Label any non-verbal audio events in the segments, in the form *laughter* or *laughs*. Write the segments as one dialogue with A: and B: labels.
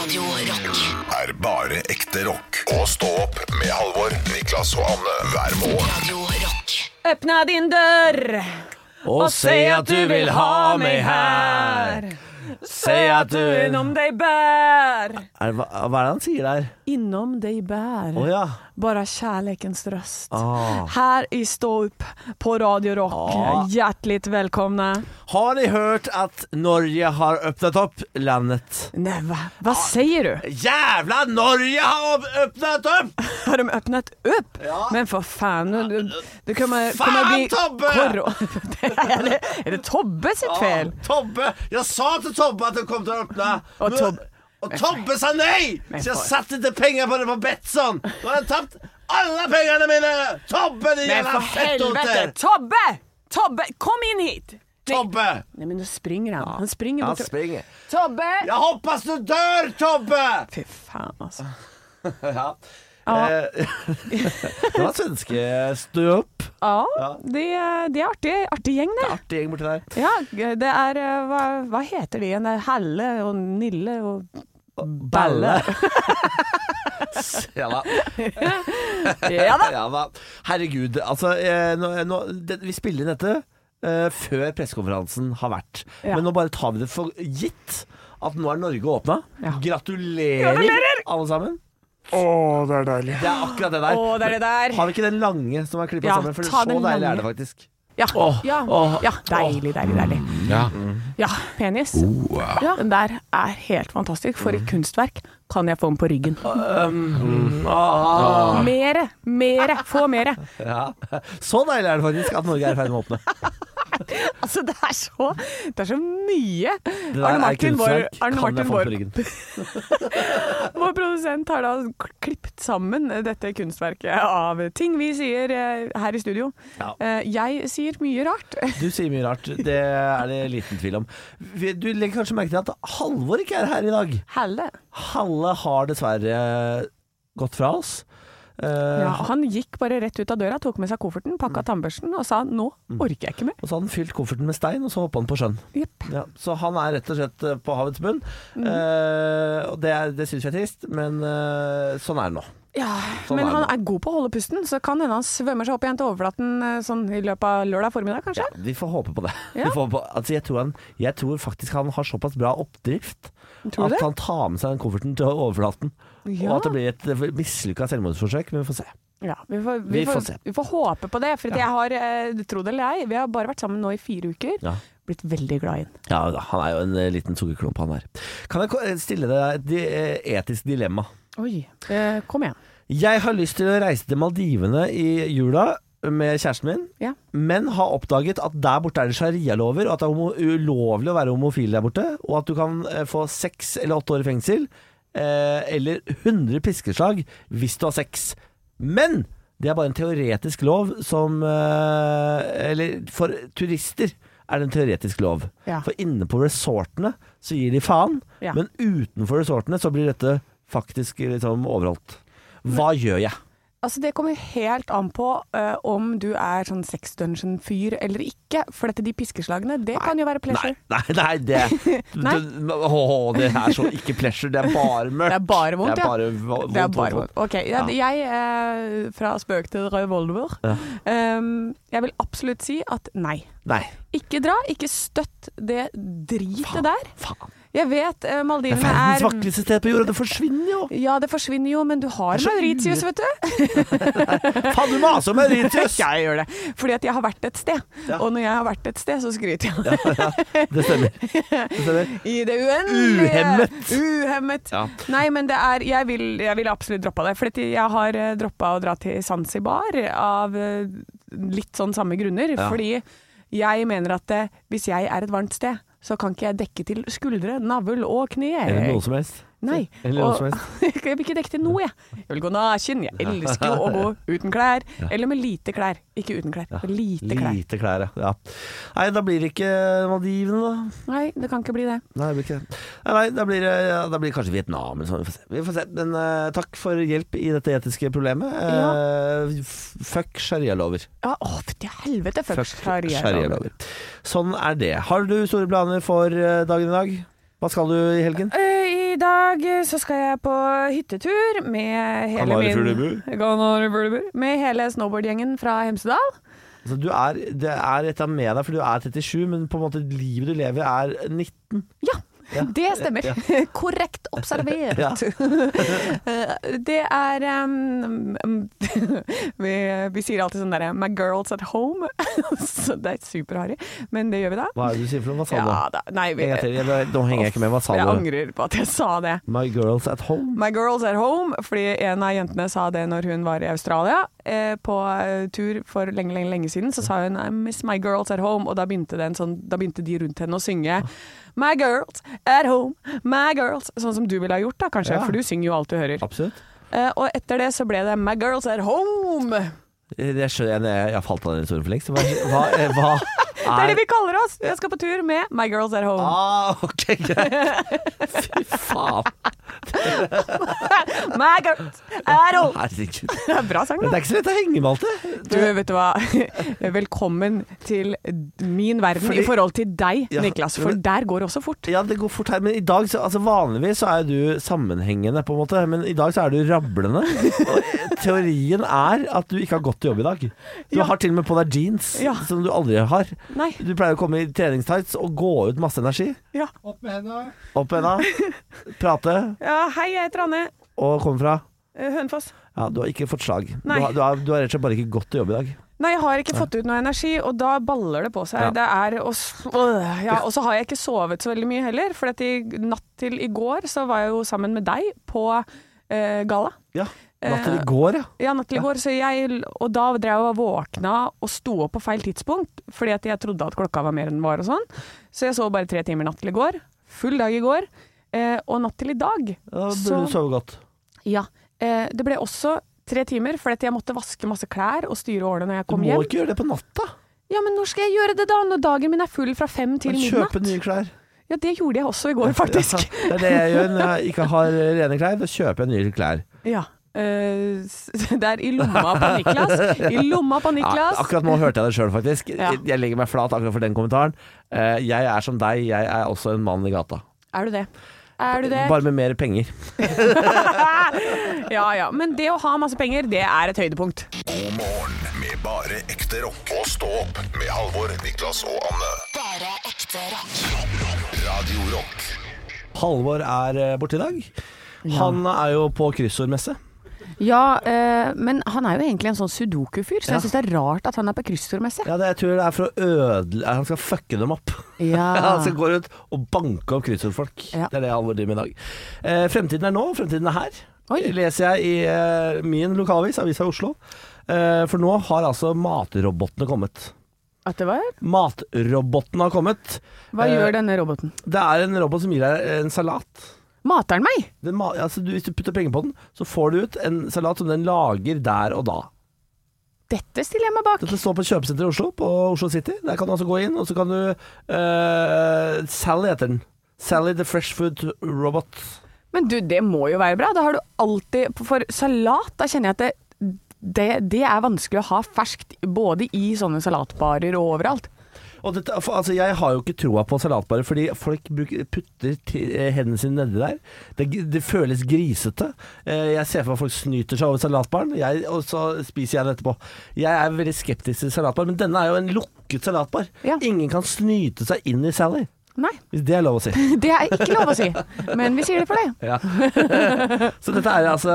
A: Radio Rock.
B: er bare ekte rock. Og stå opp med Halvor, Niklas og Anne hver morgen.
A: Radio Rock.
C: Åpna din dør
D: Og si at du vil ha meg her.
C: Se at du innom deg bær.
D: Er, det- hva, hva er det han sier der?
C: Innom deg bær.
D: Å ja.
C: Bara kärlekens röst.
D: Ah.
C: Här i Stå upp på Radio Rock.
D: Ah.
C: Hjärtligt välkomna.
D: Har dere hørt at Norge har åpnet opp landet?
C: Nej, va?
D: Ah.
C: Vad säger du?
D: Jævla Norge har opp- åpnet opp!
C: Har de öppnat upp? Men för fan, nu- nu- det kommer,
D: Fan,
C: kommer bli...
D: Tobbe!
C: *laughs*
D: Ah.
C: är, det, är det Tobbe sitt fel?
D: Ja, Tobbe! Jeg sa til Tobbe at hun kom til å åpne.
C: Og
D: Nå-
C: Tobbe-
D: og Tobbe sa nei!
C: Men
D: Så jeg
C: for-
D: satte ikke penger på det på Betsson. Nå har jeg tapt alle pengene mine! Tobbe, din
C: Men för
D: jævla
C: helvete!
D: fettoter!
C: Tobbe! Tobbe, kom in hit!
D: Tobbe!
C: Nej men nu springer han. Han springer mot...
D: Han springer.
C: Tobbe!
D: Jeg håper du dør, Tobbe!
C: Fy altså. fan alltså.
D: *laughs* Ja.
C: Ja.
D: Eh, *laughs* det var svenske stå opp.
C: Ja,
D: Ja.
C: det, det er artig, artig gjeng det.
D: Artig gjeng borti der.
C: Ja, det er eh, Hva, hva heter de igjen? Det er Helle og Nille
D: *laughs*
C: og Balle.
D: ja da.
C: *laughs* Ja da!
D: Ja da. Herregud. Altså, eh, nå, nå, det, vi spiller inn dette eh, før pressekonferansen har vært.
C: Ja.
D: Men nå bare tar vi det for gitt at nå er Norge åpna.
C: Ja.
D: Gratulerer, alle sammen. Å, det er deilig. Det er akkurat det der.
C: Å, det er det der.
D: Har vi ikke den lange som er klippa
C: Ja,
D: sammen? For
C: ta
D: så
C: den
D: deilig
C: lange.
D: er det faktisk.
C: Ja,
D: Åh,
C: ja,
D: åh,
C: ja. Deilig, deilig, deilig. Ja, penis. Ja, den der er helt fantastisk. For
D: Mm.
C: et kunstverk. Kan jeg få den på ryggen? Ah. Mere, mere, få mere.
D: Ja. *laughs* Så deilig er det faktisk at Norge er i ferd med å åpne.
C: Altså, det er så, det er så mye.
D: Det der
C: Arne
D: er
C: Martin, vår,
D: kunstverk.
C: Arne
D: Kan jeg
C: Martin,
D: få den på
C: vår
D: ryggen?
C: *laughs* Vår produsent har da klippet sammen dette kunstverket av ting vi sier eh, her i studio.
D: Ja.
C: Eh, Jeg sier mye rart.
D: Du sier mye rart. Det er det liten tvil om. Vi- Du legger kanskje merke til at Halvor ikke er her i dag.
C: Helle.
D: Halle har dessverre gått fra oss. Eh,
C: Ja, han gikk bare rett ut av døra, tok med seg kofferten, pakka
D: Mm.
C: tannbørsten og sa 'nå orker jeg ikke mer'.
D: Og så hadde han fylt kofferten med stein, og så hoppa han på sjøen.
C: Jepp. Mm.
D: Ja, så han er rett og slett eh, på havets bunn. Eh, og det, er- det syns jeg er trist, men eh, sånn er det nå.
C: Ja,
D: Sånn
C: men
D: er
C: han
D: det.
C: er god på å holde pusten, så kan hende han svømmer seg opp igjen til overflaten eh, sånn i løpet av lørdag formiddag, kanskje.
D: Ja, vi får håpe på det. *laughs*
C: Ja.
D: Vi får håpe på, altså jeg, tror han, jeg tror faktisk han har såpass bra oppdrift
C: Tror du
D: at
C: det?
D: han tar med seg den kofferten til overflaten.
C: Ja.
D: Og at det blir et eh, mislykka selvmordsforsøk, men vi får se.
C: Ja, vi får, vi,
D: Vi
C: får,
D: får se.
C: vi får håpe på det. For at jeg har, eh, tro det eller ei, vi har bare vært sammen nå i fire uker.
D: Ja.
C: Blitt veldig glad i den.
D: Ja, da, han er jo en eh, liten sukkerklump, han her. Kan jeg ko- eh, stille deg et di- eh, etisk dilemma?
C: Oi. Eh, kom igjen.
D: Jeg har lyst til å reise til Maldivene i jula med kjæresten min,
C: Ja.
D: men har oppdaget at der borte er det sharialover, og at det er homo ulovlig å være homofil der borte, og at du kan eh, få seks eller åtte år i fengsel, eh, eller 100 piskeslag hvis du har sex. Men det er bare en teoretisk lov som eh, Eller for turister er det en teoretisk lov.
C: Ja.
D: For inne på resortene så gir de faen,
C: Ja.
D: men utenfor resortene så blir dette faktisk liksom overholdt. Hva gjør jeg?
C: Altså Det kommer helt an på eh, om du er sånn sex dungeon-fyr eller ikke. For dette, de piskeslagene, det kan jo være
D: Nei,
C: pleasure.
D: nei, nei det
C: *laughs* Nei.
D: det- Åh, det er så ikke pleasure. Det er bare mørkt.
C: Det er bare vondt,
D: Det
C: ja.
D: er bare vo- vondt.
C: Det er bare
D: vondt, vondt.
C: vondt. Ok, jeg, jeg eh, fra spøk til revolver. Ehm, jeg vil absolutt si at nei.
D: Nei,
C: Ikke dra, ikke støtt det dritet der.
D: faen.
C: Jeg vet eh,
D: Det er
C: Maldivene
D: verdens
C: er
D: vakreste sted på jorda. Det forsvinner jo.
C: Ja, det forsvinner jo, men du har
D: Det er så
C: Mauritius, vet du.
D: Faen, du maser om
C: *laughs*
D: Mauritius!
C: Jeg gjør det. Fordi at jeg har vært et sted.
D: Ja.
C: Og når jeg har vært et sted, så skryter jeg.
D: Det stemmer. Det stemmer.
C: *laughs* I det uendelige.
D: Uhemmet.
C: Uhemmet.
D: Ja.
C: Nei, men det er Jeg vil, jeg vil absolutt droppe det. For jeg har droppa å dra til Zanzibar av eh, litt sånn samme grunner.
D: Ja.
C: Fordi jeg mener at eh, hvis jeg er et varmt sted, så kan ikke jeg dekke til skuldre, navl og kne.
D: Eller noe som helst.
C: Nei.
D: Eller noe
C: og- *laughs*
D: som helst.
C: jeg vil ikke dekke til noe, jeg. Jeg vil gå naken. Jeg elsker jo å gå uten klær. Eller med lite klær. Ikke uten klær, med lite klær.
D: Lite klær, ja. ja. Nei, da blir det ikke Maldivene, da.
C: Nei, det kan ikke bli det.
D: Nei, det blir ikke det. Nei, nei da, blir, det- ja, da blir det kanskje Vietnam eller sånn. Vi får se. Vi får se. Men eh, takk for hjelp i dette etiske problemet. Eh, f- fuck sharialover.
C: Ja, å, til helvete. Fuck altså. sharia.
D: sharialover. Sånn er det. Har du store planer for eh, dagen i dag? Hva skal du i helgen?
C: Eh, I I dag eh, så skal jeg på hyttetur med hele min
A: Kanarifuglebu.
C: Kanarifuglebu. Med hele snowboardgjengen fra Hemsedal.
D: Altså, du er, det er et eller annet med deg, for du er 37, men på en måte livet du lever er 19.
C: Ja, det stemmer. *laughs* Korrekt observert.
D: Ja.
C: Eh, *laughs* det er em, em, *laughs* vi, vi sier alltid sånn derre 'my girls at home', *laughs* så det er superharry, men det gjør vi da.
D: Hva er det du sier for noe? Hva sa
C: Ja
D: du?
C: da. Nei, vi,
D: En gang til. Jeg ble- Nå henger jeg ikke med. Hva sa
C: jeg
D: du?
C: angrer på at jeg sa det.
D: My girls at home.
C: My girls at home, fordi en av jentene sa det når hun var i Australia eh, på eh, tur for lenge, lenge, lenge siden. Så sa hun I miss my girls at home, og da begynte, det en sånn, da begynte de rundt henne å synge My girls at home, my girls. Sånn som du ville ha gjort da, kanskje,
D: Ja.
C: for du synger jo alt du hører.
D: Absolutt.
C: Eh, og etter det så ble det My girls at home.
D: Eh, Jeg skjønner, jeg, jeg har falt av den historien for lengst. Hva, hva, eh, hva
C: *laughs* Det er det
D: er
C: vi kaller oss. Jeg skal på tur med My girls at home.
D: Ah, ok, greit. Fy faen.
C: *laughs* My girls at home.
D: Herregud.
C: Det er *laughs* bra sang, da.
D: Men det er ikke så lett å henge med alt det.
C: Du, vet du hva. *laughs* Velkommen til min verden
D: Fordi-
C: i forhold til deg,
D: Ja,
C: Niklas.
D: jo,
C: For
D: men-
C: der går det også fort.
D: Ja, det går fort her, men i dag så, altså Vanligvis så er du sammenhengende, på en måte, men i dag så er du rablende. Og teorien er at du ikke har gått til jobb i dag. Du
C: Ja.
D: har til og med på deg jeans,
C: Ja.
D: som du aldri har.
C: Nei.
D: Du pleier å komme i treningstights og gå ut masse energi.
C: Ja.
D: Opp
C: *laughs*
D: med henda, prate,
C: ja hei, jeg heter Anne
D: og komme fra.
C: eh, Hønefoss.
D: Ja, du har ikke fått slag. Du
C: Nei.
D: har, du, har, du har rett og slett bare ikke gått til jobb i dag.
C: Nei, jeg har ikke fått ut noe energi, og da baller det på seg.
D: Ja.
C: Det er og, s- øh, ja, og så har jeg ikke sovet så veldig mye heller, for at i natt til i går så var jeg jo sammen med deg på eh, gala.
D: Ja, Natt til
C: Eh,
D: i går, ja.
C: Ja, natt til i går, så jeg, og da drev jeg og våkna og sto opp på feil tidspunkt, fordi at jeg trodde at klokka var mer enn den var og sånn. Så jeg sov bare tre timer natt til i går, full dag i går, eh, og natt til i dag.
D: Da burde
C: Eh, så-
D: du sove godt.
C: Ja, eh, det ble også tre timer, fordi at jeg måtte vaske masse klær og styre årene når jeg
D: Du
C: kom
D: må
C: hjem.
D: ikke gjøre det på natta.
C: Ja, men når skal jeg gjøre det da, når dagen min er full fra fem til
D: Men
C: midnatt?
D: Kjøpe nye klær.
C: Ja, det gjorde jeg også i går, faktisk.
D: *laughs* Ja, det er det jeg gjør når jeg ikke har rene klær. Da kjøper jeg nye klær.
C: Ja. eh, s- *laughs* det er i lomma på Niklas. I lomma på Niklas.
D: Ja, akkurat nå hørte jeg det sjøl, faktisk.
C: Ja.
D: Jeg legger meg flat akkurat for den kommentaren. Eh, jeg er som deg, jeg er også en mann i gata.
C: Er du det? Er du det?
D: Bare med mer penger.
C: *laughs* Ja ja. Men det å ha masse penger, det er et høydepunkt.
B: God morgen med bare ekte rock. Og stå opp med Halvor, Niklas og Anne.
E: Bare ekte rock.
B: Radio Rock.
D: Halvor er eh, borte i dag. Han er jo på kryssordmesse.
F: Ja, eh, men han er jo egentlig en sånn sudoku-fyr, så
D: Ja.
F: jeg syns det er rart at han er på kryssordmesse.
D: Ja, det, jeg tror det er for å ødele Han skal fucke dem opp. *laughs* Han skal gå rundt og banke opp kryssordfolk.
F: Ah. Ja.
D: Det er det Halvor driver med i dag. Eh, fremtiden er nå, fremtiden er her.
F: Oi.
D: Leser jeg i eh, min lokalavis, Avisa Oslo. Eh, for nå har altså matrobotene kommet.
F: At det var?
D: Matrobotene har kommet.
F: Hva
D: Eh,
F: gjør denne roboten?
D: Det er en robot som gir deg en salat.
F: Mater han meg?
D: Den, ma- altså, du, hvis du putter penger på den, så får du ut en salat som den lager der og da.
F: Dette stiller jeg meg bak.
D: Dette står på kjøpesenteret i Oslo, på Oslo City. Der kan du altså gå inn, og så kan du eh, Sally heter den. Sally the Fresh Food Robot.
F: Men du, det må jo være bra. Da har du alltid For salat, da kjenner jeg at det det, det er vanskelig å ha ferskt både i sånne salatbarer og overalt.
D: Og dette, for, altså, jeg har jo ikke troa på salatbare, fordi folk bruker, putter ti- eh, hendene sine nedi der. Det, det føles grisete. Eh, jeg ser for meg folk snyter seg over salatbaren, jeg, og så spiser jeg det etterpå. Jeg er veldig skeptisk til salatbar, men denne er jo en lukket salatbar.
F: Ja.
D: Ingen kan snyte seg inn i Sally,
F: Nei, *laughs*
D: hvis det er lov å si.
F: det er ikke lov å si, men vi sier det for det.
D: Ja. *laughs* så dette er altså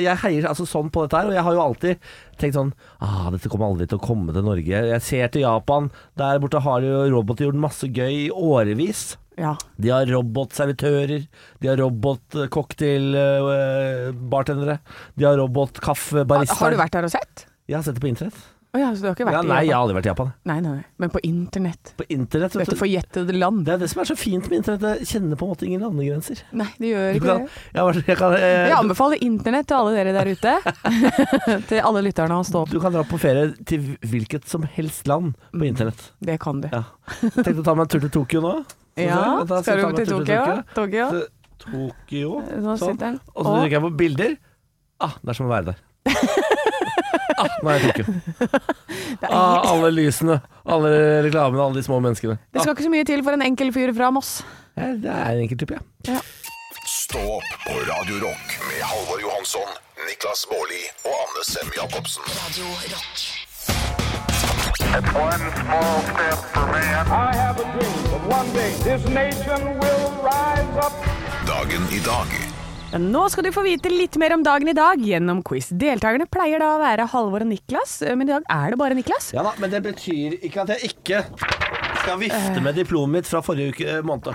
D: Jeg heier altså sånn på dette her, og jeg har jo alltid tenkt sånn ah, Dette kommer aldri til å komme til Norge. Jeg ser til Japan. Der borte har jo roboter gjort masse gøy i årevis.
F: Ja.
D: De har robotservitører, de har robotcocktailbartendere, de har robotkaffebarister.
F: Har du vært der og sett?
D: Jeg har sett det på internett.
F: Å ja, så du har ikke vært
D: Ja,
F: i
D: nei, jeg
F: Japan?
D: har aldri vært i Japan.
F: Nei, nei, nei. Men på internett.
D: På internett, vet
F: Dette
D: du.
F: forjettede land.
D: Det er det som er så fint med internett, det kjenner på en måte ingen landegrenser.
F: Nei, det gjør
D: Du
F: ikke
D: kan,
F: det.
D: jeg, har vært- jeg kan, eh,
F: Jeg anbefaler internett til alle dere der ute.
C: *laughs*
F: til alle lytterne å stå opp.
D: Du kan dra på ferie til hvilket som helst land på internett.
F: Det kan du.
D: Ja. Tenkte å ta meg en tur til Tokyo nå.
F: Ja,
D: Da
F: skal
D: jeg
F: du
D: ta meg en
F: til
D: tur
F: Tokyo? Tokyo?
D: Tokyo. Tokyo.
F: Nå
D: Sånn.
F: sitter han.
D: Og så trykker jeg på bilder. Ah, det er som å *laughs* være der. Ah, nå er jeg i Tokyo. Ah, alle lysene, alle reklamene, alle de
C: Ah,
D: små menneskene. Ah,
F: Det skal ikke så mye til for en enkel fyr fra Moss.
D: Ja, det er en enkel type, ja.
B: Stå Stå opp på Radio Rock med Halvor Johansson, Niklas Baarli og Anne Sem Jacobsen.
E: Radio Rock.
G: It's one small step for man.
H: I have a dream that one day this nation will rise up.
B: Dagen i dag
C: Nå skal du få vite litt mer om dagen i dag gjennom quiz. Deltakerne pleier da å være Halvor og Niklas, eh, men i dag er det bare Niklas.
D: Ja da, men det betyr ikke at jeg ikke skal vifte med diplomet mitt fra forrige uke, eh, måned.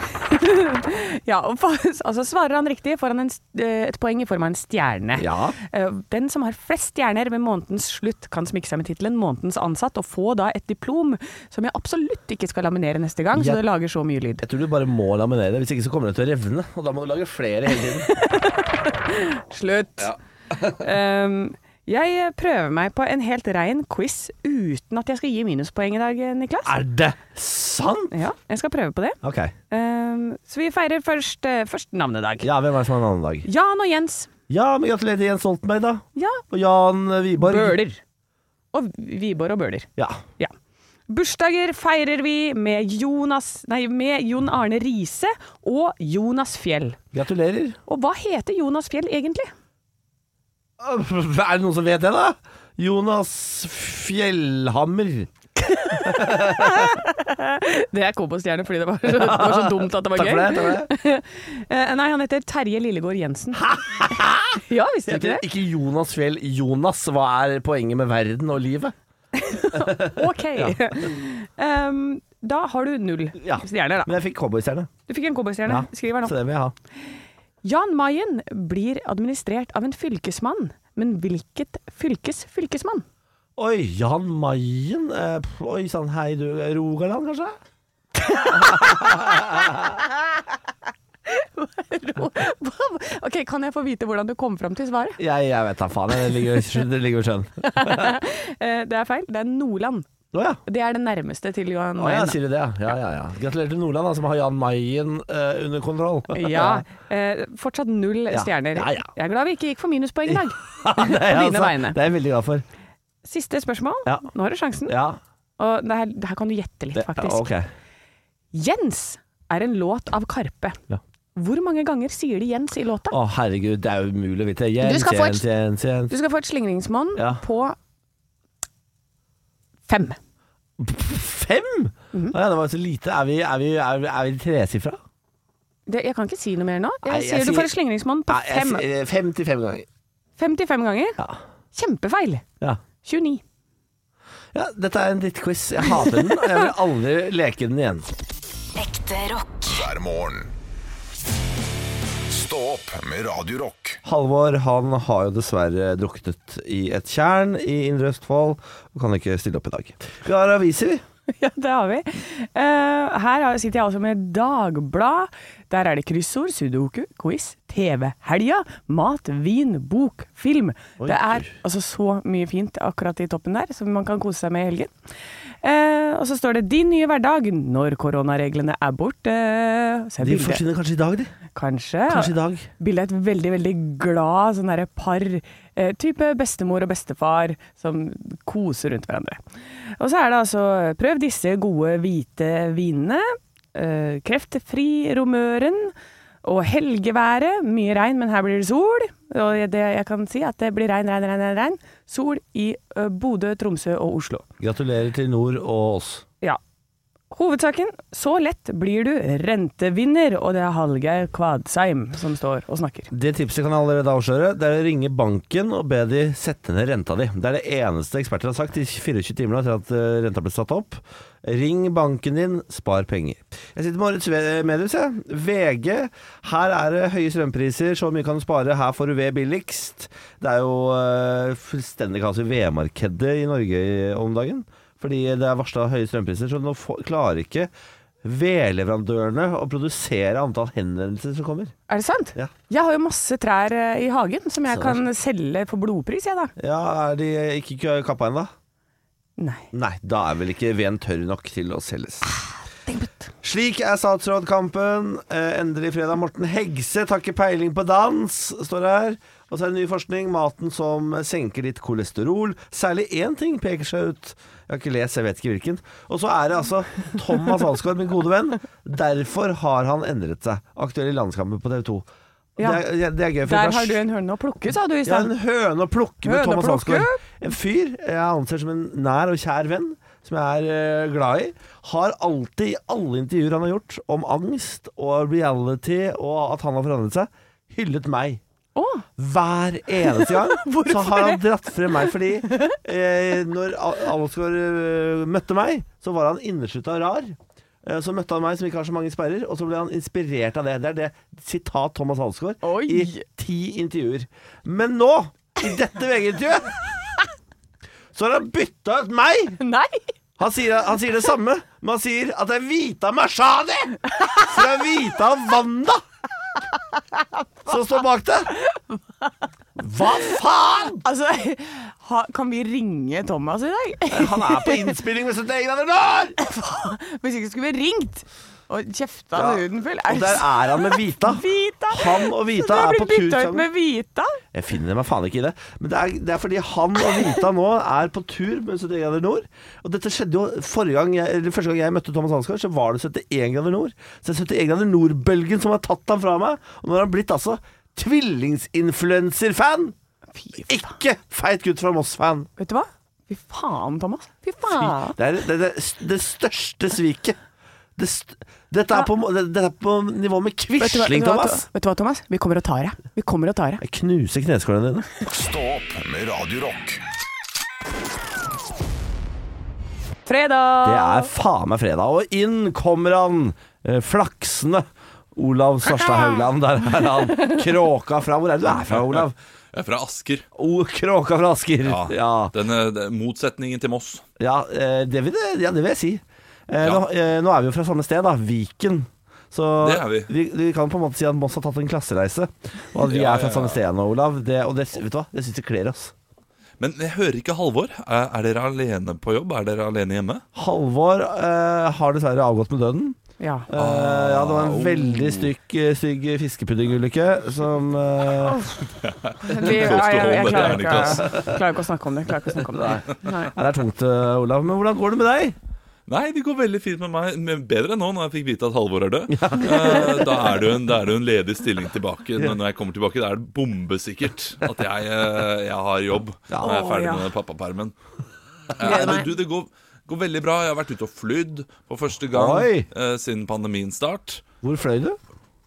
C: Ja, og for, *laughs* altså Svarer han riktig, får han en, st- eh, et poeng i form av en stjerne.
D: Ja.
C: Eh, Den som har flest stjerner ved månedens slutt, kan smykke seg med tittelen 'Månedens ansatt' og få da et diplom som jeg absolutt ikke skal laminere neste gang,
D: Ja.
C: så det lager så mye lyd.
D: Jeg tror du bare må laminere det, hvis ikke så kommer det til å revne. Og da må du lage flere hele tiden.
C: Slutt! *laughs* um, jeg prøver meg på en helt rein quiz uten at jeg skal gi minuspoeng i dag, eh, Niklas.
D: *laughs* Er det sant?!
C: Ja, jeg skal prøve på det.
D: Ok.
C: Um, så vi feirer først, eh, først navnedag.
D: Ja, hvem er det som har en annen dag?
C: Jan og Jens.
D: Ja, men gratulerer til Jens Stoltenberg, da.
C: Ja,
D: Og Jan eh, Wiborg.
C: Bøhler. Og Vibor og Bøhler.
D: Ja.
C: Ja. Bursdager feirer vi med, Jonas, nei, med Jon Arne Riise og Jonas Fjell.
D: Gratulerer.
C: Og hva heter Jonas Fjell egentlig?
D: Er det noen som vet det, da? Jonas Fjellhammer.
C: Det er Kobostjerne fordi det var, så, det var så dumt at det var
D: Takk
C: gøy.
D: for det. Takk for det.
C: Eh, nei, han heter Terje Lillegård
D: *laughs*
C: Jensen. ja, visste du ikke
D: Heter
C: det?
D: ikke Jonas Fjell Jonas. Hva er poenget med verden og livet?
C: Ok. Em, da har du null
D: Ja.
C: stjerner, da.
D: Men jeg fikk cowboystjerne.
C: Du fikk en
D: Ja.
C: Kobostjerne. Skriv her nå.
D: Så det vil jeg ha.
C: Jan Mayen blir administrert av en fylkesmann. Men hvilket fylkes fylkesmann? *laughs*
D: Oi, Jan Mayen. Eh, pff, Oi sann, hei du. Rogaland, kanskje?
C: ok, Kan jeg få vite hvordan du kom fram til svaret?
D: Jeg, jeg vet da faen. Det ligger det ligger i sjøen.
C: Eh, det er feil. Det er Nordland.
D: Å ja.
C: Det er det nærmeste til Johan
D: Å ja,
C: Mayen. da.
D: sier du det, ja. ja, ja, ja. Gratulerer til Nordland, da, som har Jan Mayen eh, under kontroll.
C: Ja, eh, Fortsatt null
D: Ja.
C: stjerner.
D: Ja, ja.
C: Jeg er glad vi ikke gikk for minuspoeng i
D: *laughs*
C: dag. *laughs*
D: det, er jeg,
C: På dine
D: altså,
C: vegne.
D: det er jeg veldig glad for.
C: Siste spørsmål.
D: Ja.
C: Nå har du sjansen.
D: Ja,
C: Og det her, det her kan du gjette litt,
D: det,
C: faktisk.
D: ok.
C: Jens er en låt av Karpe.
D: Ja.
C: Hvor mange ganger sier de Jens i låta?
D: Å herregud, det er jo umulig å vite. Jens,
C: Du skal få et-
D: Jens, Jens, Jens.
C: Du skal få et slingringsmonn
D: Ja.
C: på fem.
D: Fem?!
C: Mhm.
D: Å ja, det var jo så lite. Er vi, er vi, er vi, er vi tresifra?
C: Det, jeg kan ikke si noe mer nå. Jeg
D: Nei, jeg
C: sier du
D: sier-
C: får et slingringsmonn på
D: Nei, jeg
C: fem.
D: sier, eh, 55 ganger.
C: 55 ganger.
D: Ja.
C: Kjempefeil.
D: Ja.
C: 29.
D: ja, dette er en drittquiz. Jeg hater den, og jeg vil aldri leke den igjen.
E: Ekte rock.
B: hver morgen. Stå opp med Radio Rock.
D: Halvor han har jo dessverre druknet i et tjern i Indre Østfold, og kan ikke stille opp i dag. Vi har aviser, vi.
C: *laughs* Ja, det har vi. Eh, her har- sitter jeg altså med Dagblad. Der er det kryssord, sudoku, quiz, TV-helga, mat, vin, bok, film. det er altså så mye fint akkurat i toppen der, som man kan kose seg med i helgen. Eh, og så står det 'Din nye hverdag' når koronareglene er borte. Så er
D: De
C: bildet,
D: forsvinner kanskje i dag, de.
C: kanskje.
D: Kanskje i dag.
C: Bildet er et veldig, veldig glad sånn derre par. eh, Type bestemor og bestefar som koser rundt hverandre. Og så er det altså prøv disse gode hvite vinene. eh, kreftfri romøren. Og helgeværet. Mye regn, men her blir det sol. Og det jeg kan si, at det blir regn, regn, regn. regn, regn. Sol i eh, Bodø, Tromsø og Oslo.
D: Gratulerer til Nord og oss.
C: Ja. Hovedsaken så lett blir du rentevinner, og det er Hallgeir Kvadsheim som står og snakker.
D: Det tipset kan jeg allerede avsløre. Det er å ringe banken og be de sette ned renta di. Det er det eneste eksperter har sagt i 24 timer etter at eh, renta ble satt opp. Ring banken din, spar penger. Jeg sitter med årets ve- medievis, jeg. VG. Her er det høye strømpriser, så mye kan du spare. Her får du ved billigst. Det er jo eh, fullstendig kaos i vedmarkedet i Norge i- om dagen. Fordi det er varsla høye strømpriser, så nå får- klarer ikke vedleverandørene å produsere antall henvendelser som kommer.
C: Er det sant?
D: Ja.
C: Jeg har jo masse trær eh, i hagen som jeg
D: Så
C: kan selge for blodpris, jeg da.
D: Ja, er de ikke kø- kappa ennå?
C: Nei.
D: Nei, da er vel ikke veden tørr nok til å selges. Slik er statsrådkampen. Eh, endelig fredag. Morten Hegse tar ikke peiling på dans, står det her. Og så er det ny forskning. Maten som senker ditt kolesterol. Særlig én ting peker seg ut. Jeg har ikke lest, jeg vet ikke hvilken. Og så er det altså Thomas Alsgaard, min gode venn. Derfor har han endret seg. Aktuell i Landskampen på TV 2.
F: Ja.
D: Det, er, det er gøy. for
F: Der
D: Lars-
F: har du en høne å plukke, sa du i
D: ja,
F: stad.
D: en høne å plukke med
F: Høne å
D: Thomas
F: plukke.
D: Hansgaard. En fyr jeg anser som en nær og kjær venn, som jeg er eh, glad i. Har alltid, i alle intervjuer han har gjort, om angst og reality og at han har forandret seg, hyllet meg.
F: Å,
D: Hver eneste gang så har han dratt frem meg, fordi eh, når Al- Alsgaard eh, møtte meg, så var han innerslutta rar. Eh, Så møtte han meg som ikke har så mange sperrer, og så ble han inspirert av det. Det er det sitat Thomas Alsgaard
F: Oi.
D: i ti intervjuer. Men nå, i dette VG-intervjuet, så har han bytta ut meg!
F: nei! *laughs*
D: Han sier, han sier det samme, men han sier at det er Vita Mashadi fra Vita Wanda som står bak det. Hva faen?!
F: Altså, ha, kan vi ringe Thomas i dag? *laughs*
D: Han er på innspilling med 71 grader nord!
F: Hvis ikke skulle vi ringt og kjefta
D: Ja,
F: huden full.
D: Og der er han med Vita.
F: Vita!
D: Han og Vita
F: Så det
D: er på
F: blitt
D: tur
F: bytta ut
D: sammen.
F: med Vita?
D: Jeg finner meg faen ikke i det. Men det er, det er fordi han og Vita nå er på tur med 71 grader nord. Og dette skjedde jo forrige gang jeg, eller første gang jeg møtte Thomas Hansgaard, så var det 71 grader nord. Så det er 71 grader nord-bølgen som har tatt ham fra meg. Og nå har han blitt altså tvillingsinfluencer-fan! Ikke feit gutt fra Moss-fan.
F: Vet du hva? Fy faen, Thomas. Fy faen.
D: Det er det, er det, det største sviket. Det st dette, er på, må- det, dette er på nivå med
F: Vet du, hva, vet,
D: Quisling,
F: du hva,
D: Thomas.
F: vet du hva, Thomas? Vi kommer og tar deg. Vi kommer og tar deg.
D: Jeg knuser kneskålene dine.
B: Stå opp med Radio Rock.
C: Fredag!
D: Det er faen meg fredag, og inn kommer han eh, flaksende. Olav Svarstad Haugland, der er han. Kråka fra Hvor er det du er fra, Olav?
I: Jeg er fra Asker.
D: Oh, kråka fra Asker. Ja, ja,
I: Den, eh, den motsetningen til Moss.
D: eh, det, vil, jeg- ja det vil jeg si. Eh,
I: Ja.
D: nå, eh, nå er vi jo fra samme sted, da. Viken. Så
I: Det er vi.
D: Vi, kan på en måte si at Moss har tatt en klassereise. Og at vi
I: Ja,
D: er fra
I: ja, ja.
D: samme sted nå, Olav. Det, og det, vet du hva? det syns jeg kler oss.
I: Men jeg hører ikke Halvor. Er er dere alene på jobb? Er dere alene hjemme?
D: Halvor eh, har dessverre avgått med døden.
F: Ja.
D: Eh, ja, det var en
I: Ah, oh.
D: veldig stygg, eh, stygg fiskepuddingulykke som eh,
F: Vi, ja,
I: Close to
F: jeg, jeg
I: home,
F: klarer,
I: dette
F: ikke,
I: er
F: klarer ikke å snakke om det. Klarer ikke å snakke om det. Nei.
D: Ja, Det er tungt, eh, Olav. Men hvordan går det med deg?
I: Nei, det går veldig fint med meg. Men bedre enn nå, når jeg fikk vite at Halvor er død. Eh, Da er det jo en, da er det jo en ledig stilling tilbake. Men når jeg kommer tilbake, da er det bombesikkert at jeg, eh, jeg har jobb. Når jeg er
F: Å, ja.
I: ferdig med pappapermen. Eh, men Du, det går, går veldig bra. Jeg har vært ute og flydd for første gang
D: Oi.
I: eh, siden pandemien start.
D: Hvor fløy du?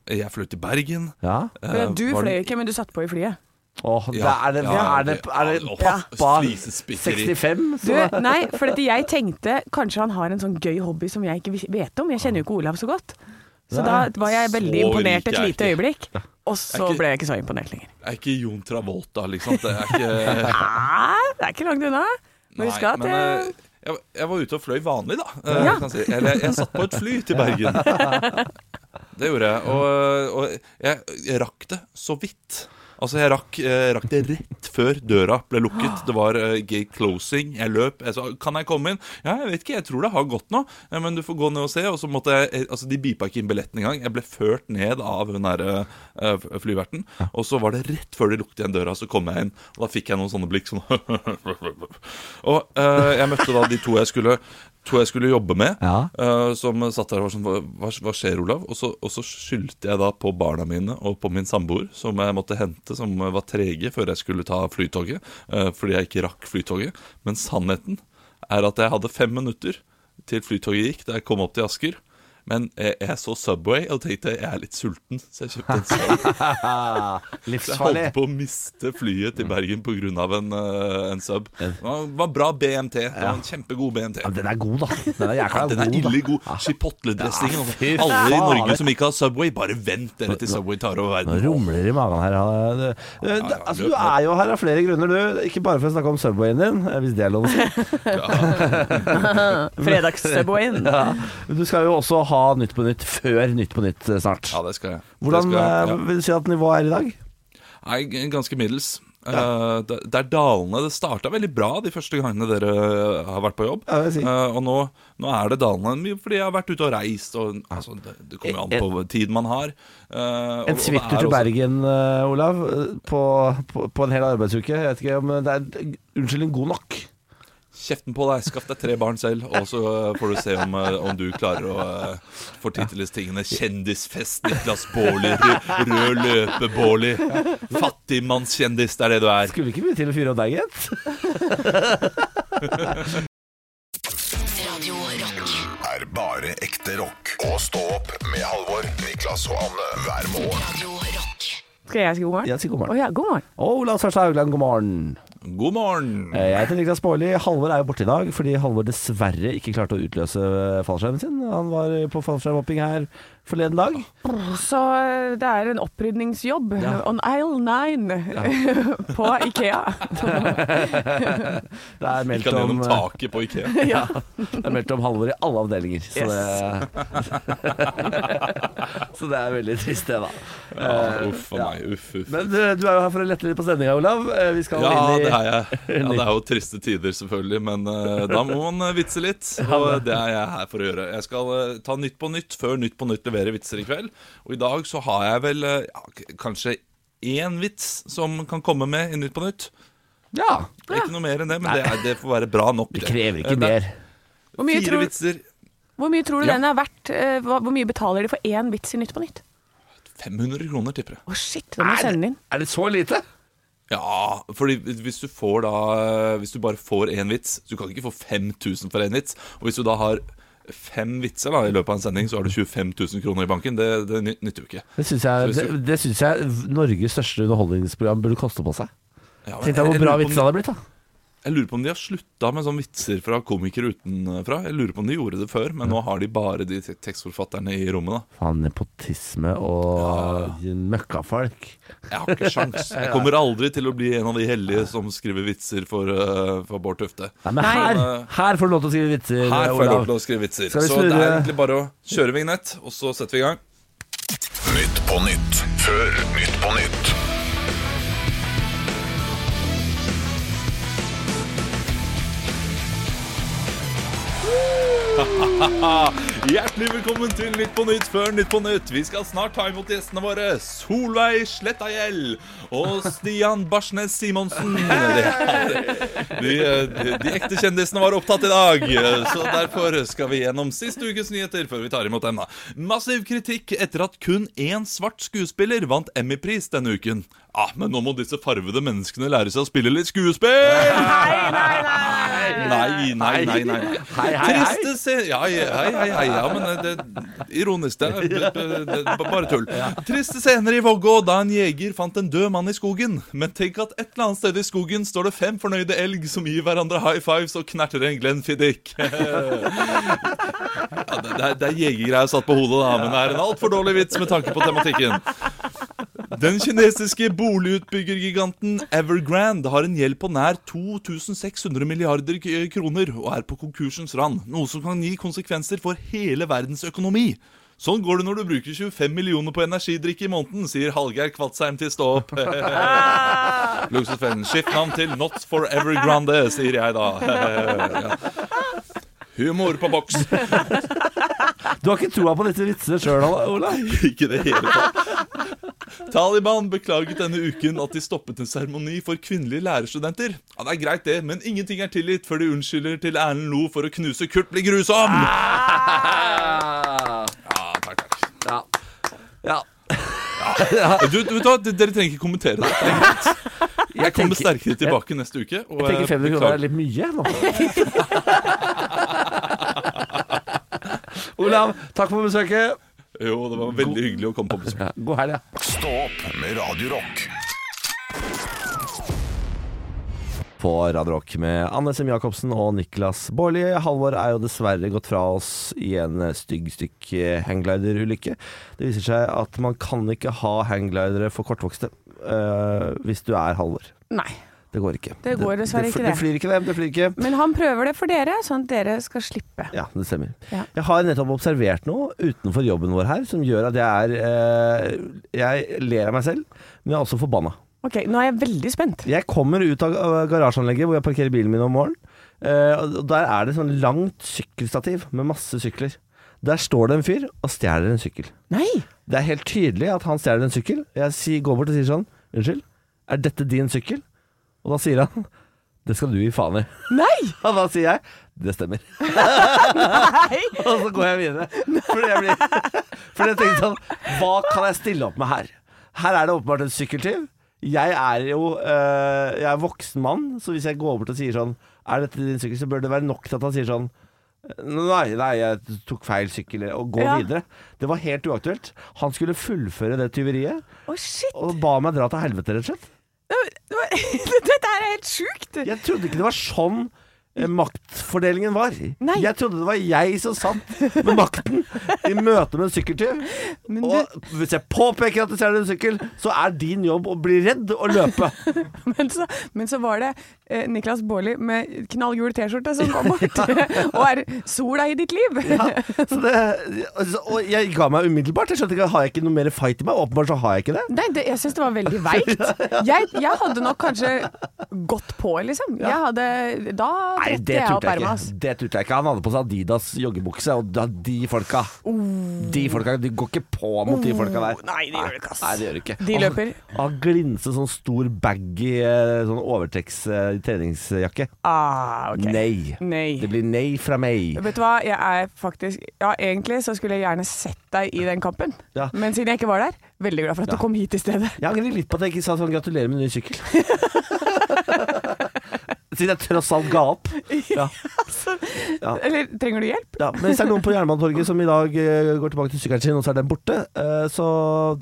I: Jeg fløy til Bergen.
D: Ja.
I: Eh,
C: Du
I: var
C: fløy
I: den-
C: ikke, men du satt på i flyet.
D: Åh, det
I: Ja,
D: er det,
I: ja,
D: er det,
I: det-
D: er det
I: åh,
D: pappa
I: flisespikkeri.
D: 65?
F: Du,
D: Så,
F: nei, for dette jeg tenkte kanskje han har en sånn gøy hobby som jeg ikke vis- vet om. Jeg kjenner jo ikke Olav så godt. Så da
D: Nei.
F: var jeg veldig
I: Så
F: imponert et
I: rik er jeg
F: lite øyeblikk. Og så
I: Er ikke-
F: ble jeg ikke så imponert lenger.
I: Jeg er ikke Jon Travolta, liksom. Det er *laughs* ikke
F: Nei, det er ikke langt unna. Men husk at
I: men,
F: eh,
I: eh, jeg, jeg var ute og fløy vanlig, da. Eh,
F: Ja.
I: kan jeg si. Eller jeg, jeg satt på et fly til Bergen. *laughs* Det gjorde jeg. Og, og jeg, jeg rakk det så vidt. Altså, jeg rakk, eh, rakk det rett før døra ble lukket. Det var eh, gate closing. Jeg løp. Jeg sa 'Kan jeg komme inn?' 'Ja, jeg vet ikke. Jeg tror det har gått nå, eh, men du får gå ned og se.' Og så måtte jeg eh, Altså, de beepa ikke inn billetten engang. Jeg ble ført ned av hun derre eh, flyverten. Og så var det rett før de lukket igjen døra, så kom jeg inn. Og da fikk jeg noen sånne blikk sånn *laughs* Og eh, jeg møtte da de to jeg skulle To jeg skulle jobbe med,
D: Ja.
I: eh, som satt der og var sånn Hva, hva- hva skjer, Olav? Og så, og så skyldte jeg da på barna mine og på min samboer, som jeg måtte hente, som var trege før jeg skulle ta flytoget, eh, fordi jeg ikke rakk flytoget. Men sannheten er at jeg hadde fem minutter til flytoget gikk, da jeg kom opp til Asker. Men jeg, jeg så Subway og tenkte jeg er litt sulten, så jeg kjøpte en Subway. Jeg
D: livsfarlig.
I: holdt på å miste flyet til Bergen pga. En, eh, en sub. Det var, var bra BMT. Det var en Kjempegod BMT.
D: Ja, den er god, da. Den er jækla
I: Den er
D: god, da.
I: ille god. Chipotledressingen. og
D: fy
I: Alle i
D: faen.
I: Norge som ikke har Subway, bare vent dere til Subway tar over
D: Nå
I: verden.
D: rumler det i magen her. ja. Det- det- det- Altså, du er jo her av flere grunner, du. Ikke bare for å snakke om Subwayen din, eh, hvis det er lov å si.
I: *laughs* eh,
F: *laughs* Fredags-Subwayen.
D: Ja. Men Du skal jo også ha Nytt på Nytt før Nytt på Nytt eh, snart.
I: Ja, det skal jeg.
D: Hvordan
I: det skal jeg.
D: eh, vil du si at nivået er i dag?
I: Nei, g- ganske middels. Eh, det, det er dalende. Det starta veldig bra de første gangene dere eh, har vært på jobb.
D: Ja, det vil jeg si.
I: Eh, og nå, nå er det dalende mye fordi jeg har vært ute og reist. Og, altså, det, det kommer jo an på tiden man har. Eh, og- og
D: En
I: det
D: svipptur
I: er
D: til
I: også-
D: Bergen, eh, Olav, eh, på, på, på en hel arbeidsuke. Jeg vet ikke om det er Unnskyld, en god nok.
I: Kjeften på deg, skaff deg tre barn selv, og så eh, får du se om, eh, om du klarer å eh, få titteles tingene. Kjendisfest, Niklas Baarli, rød, rød løpe-Baarli. Fattigmannskjendis, det er det du er.
D: Skulle ikke mye til å fyre opp deg,
I: *laughs*
D: gitt.
E: Radio Rock.
B: er bare ekte rock. Og stå opp med Halvor, Niklas og Anne hver morgen.
E: Radio Rock.
F: Skal jeg si god morgen?
D: Jeg sier god
F: Å
D: morgen.
F: ja, god morgen.
D: Og Ola Svarstad Haugland, god morgen.
I: God morgen.
D: Eh, Jeg heter Niklas Baarli. Halvor er jo borte i dag fordi Halvor dessverre ikke klarte å utløse eh, fallskjermen sin. Han var eh, på fallskjermhopping her forleden dag.
C: Så
F: eh,
C: det er en opprydningsjobb
D: Ja.
C: on aisle nine
F: *laughs*
C: på Ikea.
D: Det er meldt om, eh,
I: Gikk han gjennom taket
D: *laughs*
I: på Ikea?
C: ja.
D: det er meldt om Halvor i alle avdelinger. Så, det, *laughs* så det er veldig trist, det, da.
I: Ja, uff a meg, uff, uff.
D: Men du, du er jo her for å lette litt på stemninga, Olav. Eh, Vi skal
I: Ja,
D: inn i
I: det er jeg. Ja, det er jo triste tider, selvfølgelig, men eh, da må man eh, vitse litt. Og det er jeg her for å gjøre. Jeg skal eh, ta Nytt på Nytt før Nytt på Nytt leverer vitser i kveld. Og i dag så har jeg vel eh, ja, k- kanskje én vits som kan komme med i Nytt på Nytt.
D: Ja.
I: Ikke noe mer enn det, men det, er, det får være bra nok.
D: Det krever
I: Eh,
D: ikke
I: det er
D: mer.
C: Hvor mye,
I: Fire
C: tror,
I: vitser.
C: hvor mye tror du
I: Ja.
C: den er verdt? Eh, Hva, hvor mye betaler de for én vits i Nytt på Nytt?
I: 500 kroner, tipper jeg.
C: Å shit, den må jeg sende inn.
D: Er det så lite?
I: Ja, fordi hvis du får da Hvis du bare får én vits Du kan ikke få 5000 for én vits. Og hvis du da har fem vitser da i løpet av en sending, så har du 25 000 kroner i banken. Det, det ny- nytter jo ikke.
D: Det syns jeg,
I: Så hvis
D: det,
I: du-
D: det synes jeg Norges største underholdningsprogram burde koste på seg.
I: Ja, men
D: Tenk deg hvor bra
I: lurer på om-
D: vitsen hadde blitt, da.
I: Jeg lurer på om de har slutta med sånne vitser fra komikere utenfra. Jeg lurer på om de gjorde det før, men nå har de bare de te- tekstforfatterne i rommet, da.
D: Faen, nepotisme og møkkafolk.
I: Jeg
D: *laughs*
I: har ikke sjans. Jeg kommer aldri til å bli en av de heldige som skriver vitser for, eh, for Bård eh, Tufte.
D: Nei, men her, her får du lov til å skrive vitser, eh,
I: Her får jeg lov
D: Olav.
I: til å skrive vitser.
D: Skal vi
I: Så det er
D: snurre-
I: egentlig bare å kjøre vignett, og så setter vi i gang.
B: Nytt på nytt før Nytt på nytt.
I: Hjertelig velkommen til Nytt på Nytt før Nytt på Nytt. Vi skal snart ta imot gjestene våre Solveig Slettagjell og Stian Barsnes
D: *laughs*
I: Simonsen. Det er- De, de, de ekte kjendisene var opptatt i dag, så derfor skal vi gjennom siste ukes nyheter før vi tar imot dem. da. Massiv kritikk etter at kun én svart skuespiller vant Emmy-pris denne uken. Ah, men nå må disse farvede menneskene lære seg å spille litt skuespill! Nei, nei, nei, nei.
D: Hei, hei, hei.
I: Triste se- ja, ja, hei, hei, hei, ja, men det ironisk. Det er b- b- det er bare tull. Triste scener i Vågå da en jeger fant en død mann i skogen. Men tenk at et eller annet sted i skogen står det fem fornøyde elg som gir hverandre high fives og knerter en Glenfiddich. Ja, det, det er, det er jegergreier satt på hodet, da, men det er en altfor dårlig vits med tanke på tematikken. Den kinesiske boligutbyggergiganten Evergrande har en gjeld på nær 2600 milliarder k- kroner og er på konkursens rand, noe som kan gi konsekvenser for hele verdens økonomi. Sånn går det når du bruker 25 millioner på energidrikke i måneden, sier Hallgeir Kvatsheim til Stå opp. Luksusfellen, skift navn til Not for Evergrande, sier jeg da. ja. Humor på boks.
D: Du har ikke troa på disse vitsene sjøl, Olav?
I: *laughs* Ikke i det hele tatt. Taliban beklaget denne uken at de stoppet en seremoni for kvinnelige lærerstudenter. Ja, Det er greit, det, men ingenting er tilgitt før de unnskylder til Erlend Lo for å knuse Kurt blir grusom!
D: Ah!
I: Ja, takk, takk.
D: Ja. ja.
I: Du, du, vet hva, d- dere trenger ikke kommentere det. Det er greit. Jeg kommer
D: tenker-
I: sterkere tilbake neste uke. Og
D: Jeg tenker 500 kroner er litt mye. *laughs* Nå. Olav, takk for besøket.
I: Jo, det var veldig hyggelig å komme på besøk.
D: Ja, God helg. Ja.
B: Stå opp med Radio Rock.
D: På Radio Rock med Anne Sem Jacobsen og Niklas Baarli. Halvor er jo dessverre gått fra oss i en stygg stykk eh, hangglider-ulykke. Det viser seg at man kan ikke ha hangglidere for kortvokste eh, hvis du er Halvor.
C: Nei.
D: Det går ikke.
C: Det går dessverre
D: det,
C: ikke, Mm.
D: det.
C: det.
D: flyr ikke, det. Det flyr ikke.
C: Men han prøver det for dere, sånn at dere skal slippe.
D: Ja, det stemmer.
C: Ja.
D: Jeg har nettopp observert noe utenfor jobben vår her som gjør at jeg er eh, Jeg ler av meg selv, men jeg er også forbanna.
C: Ok, nå er jeg veldig spent.
D: Jeg kommer ut av av garasjeanlegget hvor jeg parkerer bilen min om morgenen. eh, og der er det sånn langt sykkelstativ med masse sykler. Der står det en fyr og stjeler en sykkel.
C: Nei!
D: Det er helt tydelig at han stjeler en sykkel. Jeg sier, går bort og sier sånn Unnskyld, er dette din sykkel? Og da sier han Det skal du gi faen i. *laughs*
C: Nei!
D: Og hva sier jeg? Det stemmer. *laughs* Og så går jeg videre. Fordi jeg, blir, *laughs* fordi jeg tenkte sånn Hva kan jeg stille opp med her? Her er det åpenbart en sykkeltyv. Jeg er jo øh, Jeg er voksen mann, så hvis jeg går bort og sier sånn Er dette din sykkel, så bør det være nok til at han sier sånn Nei, nei, jeg tok feil sykkel Og gå
C: Ja.
D: videre Det var helt uaktuelt Han skulle fullføre det tyveriet
C: Å, shit!
D: Og ba meg dra til helvete rett og slett
C: Det var- *laughs* Dette her er helt sjukt!
D: Jeg trodde ikke det var sånn eh, maktfordelingen var.
C: Nei.
D: Jeg trodde det var jeg som satt med makten i møte med en sykkeltyv.
C: Men du,
D: Og hvis jeg påpeker at du stjeler en sykkel, så er din jobb å bli redd og løpe.
C: men, så, men så var det eh, Niklas Baarli med knallgul T-skjorte som
D: *laughs*
C: kom bort og er 'Sola i ditt liv'.
D: Ja, så det, altså, og jeg ga meg umiddelbart. Jeg skjønte ikke, Har jeg ikke noe mer fight i meg? Åpenbart så har jeg ikke det.
C: *laughs* Nei, det, jeg syns det var veldig veikt. Jeg, jeg hadde nok kanskje gått på, liksom. Jeg hadde, da
D: Nei,
C: trådte
D: det
C: jeg opp
D: turte jeg
C: ermet hans.
D: ikke. Det turte jeg ikke. Han hadde på seg Adidas joggebukse, og da, de folka De folka, de går ikke på mot de folka der.
C: Oh. Nei, de gjør det ikke, ass.
D: Nei, de gjør det ikke.
C: De løper.
D: Han, han glinser sånn stor baggy eh, sånn overtrekks eh, treningsjakke.
C: Ah, ok.
D: Nei.
C: Nei.
D: Det blir nei fra meg.
C: Vet du hva, jeg er faktisk Ja, egentlig så skulle jeg gjerne sett deg i den kampen.
D: Ja.
C: Men siden jeg ikke var der, veldig glad for at du kom hit i stedet. *laughs*
D: Jeg angrer litt på at jeg ikke sa sånn gratulerer med ny sykkel. *laughs* Siden jeg tross alt ga opp. Ja.
C: Altså, Eller trenger du hjelp?
D: Ja, men hvis det er noen på Jernbanetorget som i dag eh, går tilbake til sykkelen sin, og så er den borte, eh, så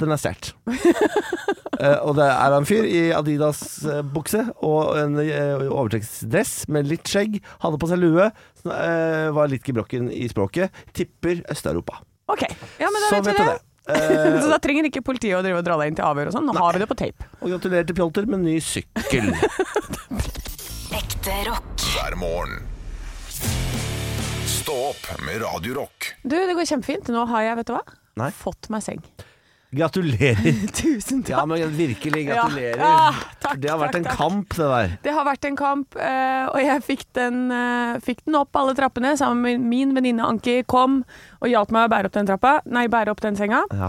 D: den er
C: *laughs*
D: stjålet. Eh, og det er en fyr i Adidas-bukse og en uh, overtrekksdress med litt skjegg, hadde på seg lue, så, eh, var litt gebrokken i språket, tipper Øst-Europa.
C: Ok, ja, men da
D: så
C: vet vi det. *laughs*
D: Eh,
C: Så da trenger ikke politiet å drive og dra deg inn til avhør og sånn. Nå har vi det på tape.
D: og gratulerer til Pjolter med ny sykkel.
E: Ekte rock.
B: hver morgen. Stå opp med Radio Rock.
C: Du, det går kjempefint. Nå har jeg, vet du hva,
D: Nei.
C: fått meg seng.
D: Gratulerer.
C: *laughs* Tusen takk.
D: Ja, men virkelig gratulerer.
C: Ja. Ah, takk,
D: det har vært
C: takk,
D: en
C: takk.
D: kamp, det der.
C: Det har vært en kamp, eh, og jeg fikk den, eh, fikk den opp alle trappene sammen med min venninne Anki. Kom og hjalp meg å bære opp den trappa, nei, bære opp den senga.
D: Ja.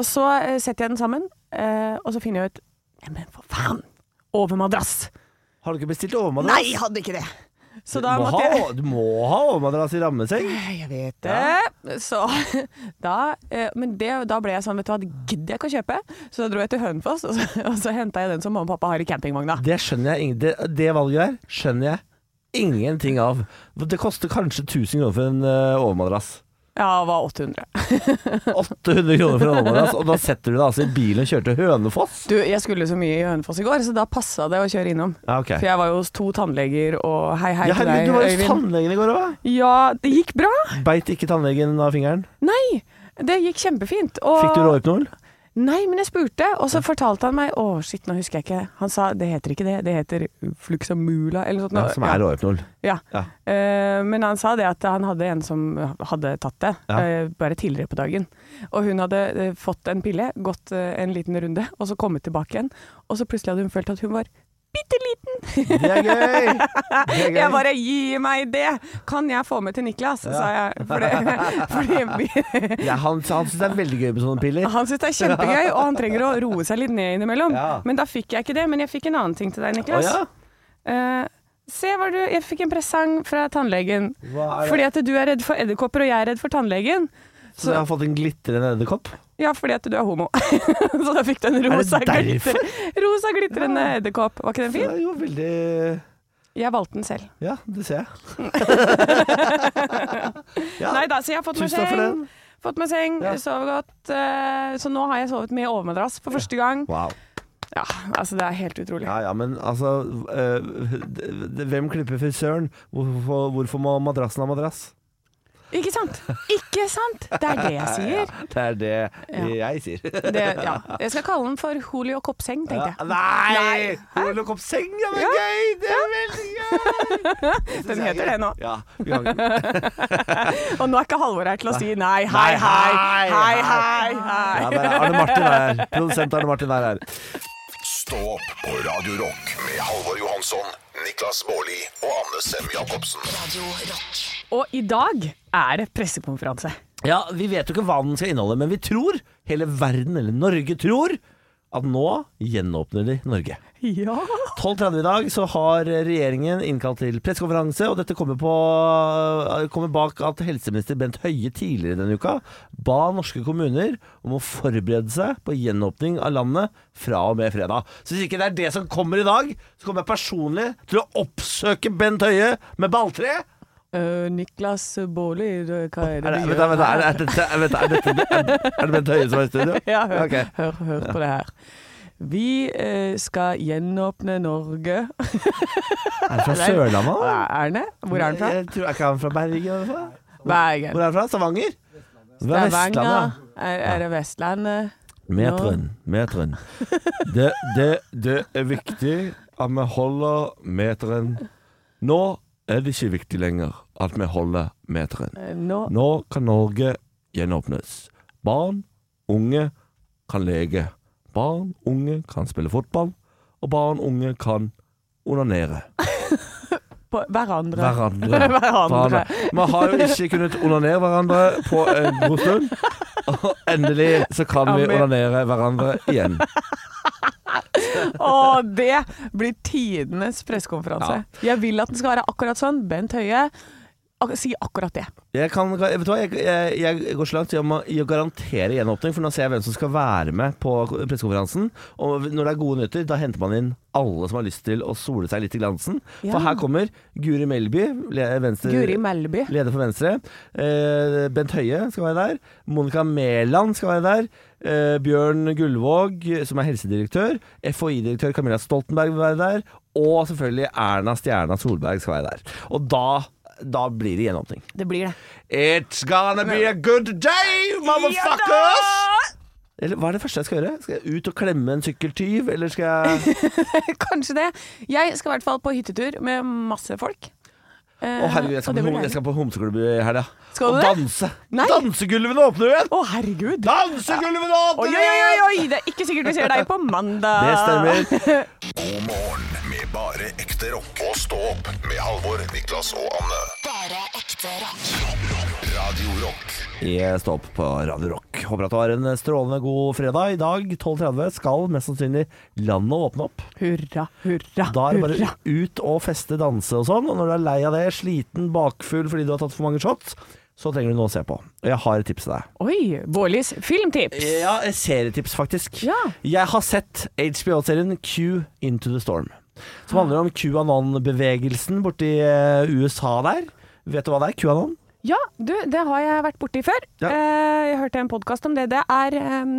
C: Og så eh, setter jeg den sammen, eh, og så finner jeg ut Neimen, for faen! Overmadrass!
D: Har du ikke bestilt overmadrass?
C: Nei, jeg hadde ikke det! Så da
D: du, må
C: måtte jeg
D: ha, du må ha overmadrass i rammeseng.
C: Jeg vet det. Så *laughs* da eh, Men det, da ble jeg sånn, vet du hva, det gidder jeg ikke å kjøpe. Så da dro jeg til Hønefoss, og så, *laughs* og så henta jeg den som mamma og pappa har i campingvogna.
D: Det skjønner jeg ing- det, det valget der skjønner jeg ingenting av. Det koster kanskje 1000 kroner for en eh, overmadrass.
C: *laughs* Ja, det var 800.
D: 800 kroner for en overmadrass, og da setter du deg altså i bilen og kjører til Hønefoss?
C: Du, jeg skulle så mye i Hønefoss i går, så da passa det å kjøre innom.
D: Ja, ok.
C: For jeg var jo hos to tannleger, og hei, hei
D: Ja,
C: til
D: herregud,
C: deg,
D: du var hos
C: Øyvind.
D: tannlegen i går òg.
C: Ja, det gikk bra.
D: Beit ikke tannlegen av fingeren?
C: Nei, det gikk kjempefint. Og
D: Fikk du Rohypnol?
C: Nei, men jeg spurte, og så fortalte han meg Å, shit, nå husker jeg ikke. Han sa det heter ikke det, det heter Fluxamula eller noe sånt.
D: Ja, som er Rohypnol.
C: Ja.
D: Ja.
C: Eh, men han sa det at han hadde en som hadde tatt det,
D: Ja.
C: eh, bare tidligere på dagen. Og hun hadde eh, fått en pille, gått eh, en liten runde, og så kommet tilbake igjen. Og så plutselig hadde hun følt at hun var bitte liten. *laughs*
D: Det er gøy! Det er gøy.
C: Jeg bare gi meg det! Kan jeg få med til Niklas, sa jeg. For det, *laughs* fordi
D: Ja, han han syns det er veldig gøy med sånne piller.
C: han syns det er kjempegøy, og han trenger å roe seg litt ned innimellom.
D: Ja.
C: Men da fikk jeg ikke det. Men jeg fikk en annen ting til deg,
D: Å
C: Niklas.
D: ja.
C: Eh, se hva du Jeg fikk en presang fra tannlegen.
D: Hva er det?
C: Fordi at du er redd for edderkopper, og jeg er redd for tannlegen.
D: Så jeg har fått en glitrende edderkopp?
C: Ja, fordi at du er homo. *laughs* så da fikk du en rosa,
D: derfor?
C: glitter, rosa glitrende edderkopp. Var ikke den
D: Det
C: fin?
D: er jo veldig
C: Jeg valgte den selv.
D: Ja, det
C: *laughs*
D: ser jeg. ja.
C: Nei da, så jeg har fått meg
D: Tusen takk for
C: seng.
D: den.
C: Fått meg seng,
D: Ja.
C: sovet godt. eh, Så nå har jeg sovet med overmadrass for første gang.
D: Wow.
C: Ja, altså det er helt utrolig.
D: Ja ja, men altså øh, d- d- Hvem klipper frisøren? Hvorfor, hvorfor må madrassen ha madrass?
C: Ikke sant? Ikke sant? Det er det jeg sier.
D: Det er det
C: Ja.
D: jeg sier.
C: Det, ja. Jeg skal kalle den for Holio Koppseng, tenkte jeg.
D: *laughs* Nei! Holocaust-seng, ja, men gøy! Det er veldig gøy!
C: *laughs* Den heter det nå.
D: Ja. vi kan-
C: Og nå er ikke Halvor her til å si nei, hei, hei,
D: Nei,
C: hei,
D: hei.
C: hei. hei.
D: Ja, der er Arne Martin er her. Produsent Arne Martin er her.
B: Stå opp på Radio Rock med Halvor Johansson, Niklas Baarli og Anne Sem Jacobsen.
E: Radio Rock.
C: Og i dag er det pressekonferanse.
D: Ja, Vi vet jo ikke hva den skal inneholde, men vi tror, hele verden eller Norge tror, at nå gjenåpner de Norge.
F: Ja.
D: 12.30 i dag så har regjeringen innkalt til pressekonferanse, og dette kommer, på, eh, kommer bak at helseminister Bent Høie tidligere denne uka ba norske kommuner om å forberede seg på gjenåpning av landet fra og med fredag. Så hvis ikke det er det som kommer i dag, så kommer jeg personlig til å oppsøke Bent Høie med balltre.
C: Eh, Niklas Baarli, du, hva er
D: Er
C: det
D: det,
C: du
D: vent, da,
C: gjør?
D: vent, da, er, det, er, det, er, det, er, det, er det Bent Høie som er i studio?
C: *laughs* Ja, hør,
D: Ok.
C: hør, hør på det her. Vi eh, skal gjenåpne Norge.
D: Er det fra Sørlandet? da?
C: Er han det? Hvor er han fra?
D: Jeg tror er ikke han fra Bergen. i hvert fall. Eh, Hvor
C: Bergen.
D: er han fra? Stavanger? Hvor er Vestlandet? ja.
C: Stavanger. Er, er det Vestlandet?
D: Meteren, meteren. Det, det, det er viktig at vi holder meteren. Nå er det ikke viktig lenger at vi holder meteren.
C: Eh, Nå
D: Nå kan Norge gjenåpnes. Barn, unge kan leke. Barn, unge kan spille fotball. Og barn, unge kan onanere.
C: på hverandre. *laughs*
D: Hverandre.
C: Hverandre.
D: Vi har jo ikke kunnet onanere hverandre på en god stund. Og endelig så kan vi
C: Ja, men-
D: onanere hverandre igjen.
C: Å, det blir tidenes pressekonferanse. Jeg vil at den skal være akkurat sånn. Bent Høie, ak si akkurat det.
D: Jeg, kan, vet du hva, jeg, jeg, jeg går så langt i å ma- i å garantere gjenåpning, for nå ser jeg hvem som skal være med på pressekonferansen. Og når det er gode nyheter, da henter man inn alle som har lyst til å sole seg litt i glansen.
C: Ja.
D: For her kommer Guri Melby, le- venstre,
C: Guri Melby.
D: leder for Venstre. Eh, Bent Høie skal være der. Monica Mæland skal være der. Eh, Bjørn Gullvåg, som er helsedirektør. FHI-direktør Camilla Stoltenberg vil være der. Og selvfølgelig Erna Stjerna Solberg skal være der. Og da, da blir det gjenåpning.
C: Det blir det. *laughs*
D: It's gonna be a good day, motherfuckers! Eller hva er det første jeg skal gjøre? Skal jeg ut og klemme en sykkeltyv, eller skal
C: *laughs*
D: jeg
C: Kanskje det. Jeg skal i hvert fall på hyttetur med masse folk. Eh,
D: Å herregud, jeg skal, på, hom- jeg skal på homseklubb i helga.
C: Skal du
D: Og
C: det?
D: danse!
C: Nei.
D: Dansegulvene åpner igjen!
C: Å, herregud.
D: Dansegulvene
C: Oi,
D: åpner
C: oi, oi,
D: igjen!
C: oi, det er ikke sikkert vi ser deg på mandag.
D: Det stemmer.
C: *laughs*
B: God morgen med bare ekte rock. Og stå opp med Halvor, Niklas og Anne.
E: Bare ekte rock.
B: Radio Rock.
D: Jeg står opp på Radio Rock. Håper at du har en strålende god fredag. I dag 12.30 skal mest sannsynlig landet åpne opp.
C: Hurra, hurra,
D: Da er det bare
C: hurra.
D: ut og feste, danse og sånn. Og når du er lei av det, sliten, bakfull fordi du har tatt for mange shots, så trenger du noe å se på. Og jeg har et tips til deg.
C: Oi, Bårlis filmtips.
D: Ja, et serietips faktisk.
C: Ja.
D: Jeg har sett HBO-serien Q Into the Storm. Som handler om QAnon-bevegelsen borti eh, USA der. Vet du hva det er? QAnon?
F: Ja, du, det har jeg vært borti før.
D: Ja.
F: Eh, jeg hørte en podkast om det. Det er em,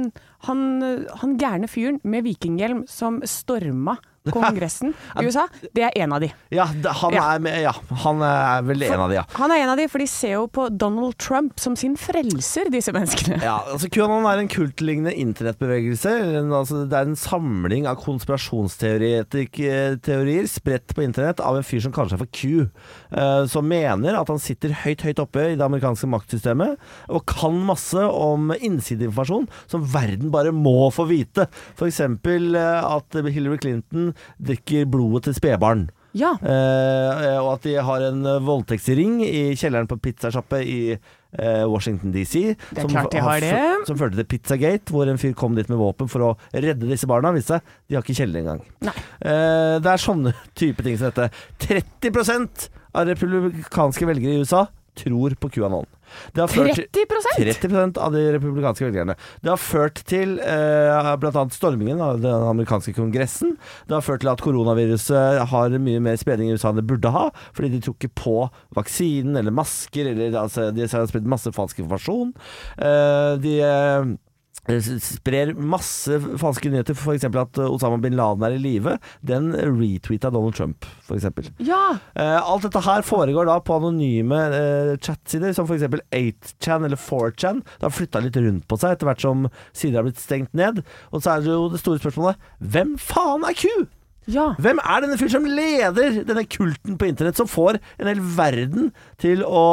F: han, han gærne fyren med vikinghjelm som
D: *laughs*
F: storma Kongressen i USA. Det er en av de.
D: Ja, det, han,
F: Ja.
D: Er med, ja, han eh, er vel en av de, ja.
F: Han er en av de, for de ser jo på Donald Trump som sin frelser, disse menneskene.
D: *laughs* Ja, altså QAnon er en kultlignende internettbevegelse. eller en- Altså, det er en samling av konspirasjonsteorier spredt på internett av en fyr som kaller seg for Q. eh, som mener at han sitter høyt, høyt oppe i det amerikanske maktsystemet og kan masse om innsideinformasjon som verden bare må få vite. F.eks. Uh, at Hillary Clinton drikker blodet til spedbarn.
F: Ja.
D: Eh, og at de har en eh, voldtektsring i kjelleren på pizzasjappe i eh, Washington DC.
F: er klart de har det.
D: Som førte til Pizzagate, hvor en fyr kom dit med våpen for å redde disse barna. Viste seg de har ikke kjeller engang.
F: Nei.
D: Eh, det er sånne *laughs* type ting som dette. 30 av republikanske velgere i USA tror på QAnon. Det har ført til-
F: 30
D: 30 av de republikanske velgerne. Det har ført til eh, bl.a. stormingen av den amerikanske kongressen. Det har ført til at koronaviruset har mye mer spredning i USA enn det burde ha, fordi de tok ikke på vaksinen eller masker, eller altså, de har spredt masse falsk informasjon. Eh, de eh, sprer masse falske nyheter, f.eks. at Osama bin Laden er i live. Den retweeta Donald Trump, f.eks.
F: Ja.
D: Eh, alt dette her foregår da på anonyme eh, chatsider, som f.eks. 8chan eller 4chan. Det har flytta litt rundt på seg etter hvert som sider har blitt stengt ned. Og så er det jo det store spørsmålet hvem faen er Q?
F: ja.
D: Hvem er denne fyren som leder denne kulten på internett, som får en hel verden til å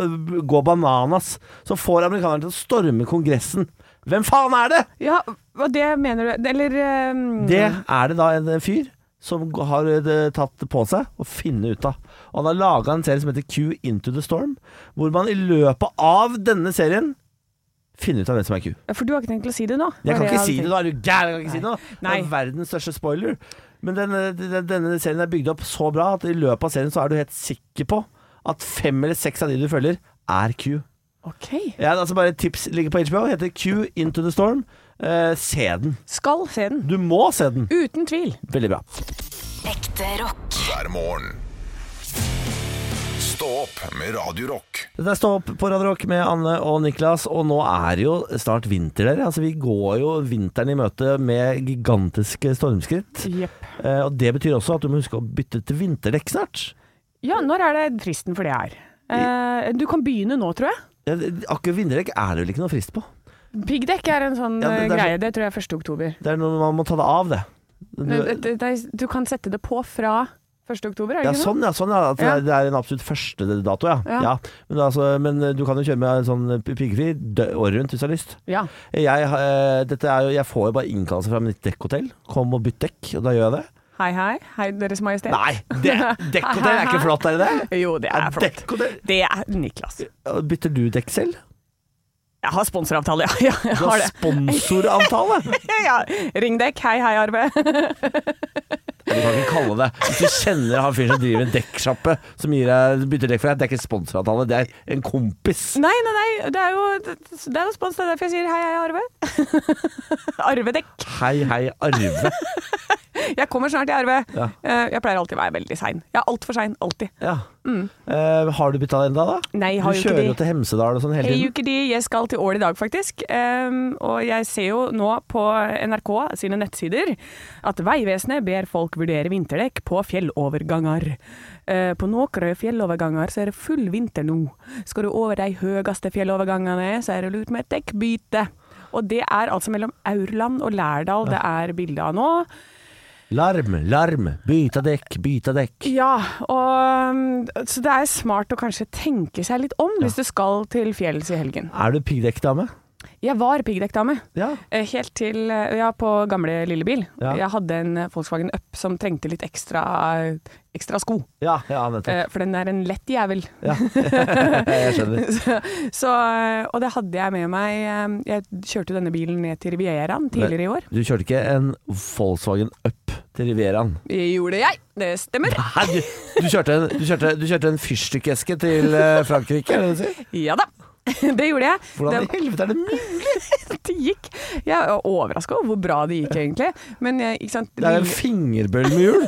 D: eh, gå bananas? Som får amerikanerne til å storme Kongressen? Hvem faen er det?
F: Ja, hva det mener du Eller ehm, em,
D: Det
C: Mm.
D: er det da en fyr som har eh, tatt på seg å finne ut av. Og han har laga en serie som heter Q Into the Storm, hvor man i løpet av denne serien finne ut av hvem som er ku.
C: For du har ikke tenkt å si det nå? var
D: Jeg kan ikke
C: hadde
D: si
C: tenkt.
D: det nå, er du gæren? Jeg kan ikke si det nå. Det
C: Nei.
D: er verdens største spoiler. Men denne, denne, denne serien er bygd opp så bra at i løpet av serien så er du helt sikker på at fem eller seks av de du følger, er Q.
C: Ok.
D: Ja, altså bare et tips ligger på HBO, heter Q Into the Storm. Eh, se den.
C: Skal se den.
D: Du må se den.
C: Uten tvil.
D: Veldig bra.
E: Ekte rock.
B: hver morgen. Stå opp med Radio Rock.
D: Dette er Stå opp på Radio Rock med Anne og Niklas, og nå er det jo snart vinter, dere. Altså, vi går jo vinteren i møte med gigantiske stormskritt. Eh, og det betyr også at du må huske å bytte til vinterdekk snart.
C: Ja, når er det fristen for det her? Eh, du kan begynne nå, tror jeg.
D: Ja, det- Akkurat vinterdekk er det vel ikke noe frist på.
C: Piggdekk er en sånn
D: Ja,
C: eh,
D: det- det er
C: greie. Det tror jeg er 1. oktober.
D: Det er noe man må ta det av, det.
C: Du, det, det, du kan sette det på fra 1. oktober, er det
D: ja,
C: ikke
D: sånn, ja, sånn ja. At det
C: Ja.
D: er- det er en absolutt første dato, ja.
C: Ja.
D: ja. Men, altså, men du kan jo kjøre med sånn piggfri dø- året rundt hvis du har lyst.
C: Ja.
D: Jeg, eh, dette er jo, jeg får jo bare innkallelse fra mitt dekkhotell. Kom og bytt dekk, og da gjør jeg det.
C: Hei, hei. Hei, Deres Majestet.
D: Nei, det, dekkhotell er ikke flott, er det det?
C: Jo, det er flott.
D: Dekkhotell.
C: Det er Niklas.
D: Bytter du dekk selv?
C: Jeg har sponsoravtale, ja. *laughs* ja jeg
D: Du
C: har
D: har
C: det.
D: sponsoravtale!
C: *laughs* Ja, ja. Ringdekk, hei hei, Arve. *laughs*
D: Du kan ikke kalle det Hvis du kjenner han fyren som driver en dekksjappe som gir deg, bytter dekk for deg, det er ikke sponsoravtale, det er en kompis.
C: Nei, nei, nei. Det er jo, det er jo spons, det er derfor jeg sier hei hei, Arve. *laughs* Arvedekk.
D: Hei, hei, Arve.
C: Jeg kommer snart, jeg, Arve.
D: Ja.
C: Eh, Jeg pleier alltid å være veldig sein. Jeg er altfor sein, alltid.
D: Ja. Eh, har du bytta enda, da?
C: Mm. Nei, jeg
D: Du
C: har jo ikke
D: kjører jo
C: det.
D: til Hemsedal og sånn hele
C: Jeg
D: tiden.
C: gjør ikke det. Jeg skal til Ål i dag, faktisk. Ehm, og jeg ser jo nå på NRK sine nettsider at Vegvesenet ber folk vurdere vinterdekk på fjelloverganger. Eh, på noen fjelloverganger så er det full vinter nå. Skal du over de høyeste fjellovergangene, så er det lurt med et dekkbyte. Og det er altså mellom Aurland og Lærdal det er bilde av nå.
D: Larm, larm, byta dekk, byta dekk.
C: Ja, og, um, så det er smart å kanskje tenke seg litt om hvis du skal til fjells i helgen.
D: Er du piggdekkdame?
C: Jeg var piggdekkdame.
D: Ja.
C: Eh, Helt til eh, Ja, på gamle lillebil.
D: Ja.
C: Jeg hadde en eh, Volkswagen Up som trengte litt ekstra, ekstra sko.
D: Ja, ja nettopp.
C: eh, For den er en lett jævel. *laughs*
D: *laughs* Jeg skjønner.
C: Så, så, eh, og det hadde jeg med meg. eh, Jeg kjørte jo denne bilen ned til Rivieraen tidligere i år.
D: Du kjørte ikke en Volkswagen Up til Rivieraen?
C: Det gjorde jeg. Det stemmer.
D: Hæ, du, du, kjørte en, du, kjørte, du kjørte en fyrstikkeske til eh, Frankrike, er det det du sier?
C: Ja da. *laughs* Det gjorde jeg.
D: Hvordan
C: det,
D: i helvete er det mulig?
C: *laughs* det gikk. Jeg er overraska over hvor bra det gikk, egentlig. Men jeg, ikke sant?
D: Det er en
C: lille-
D: fingerbøll med hjul.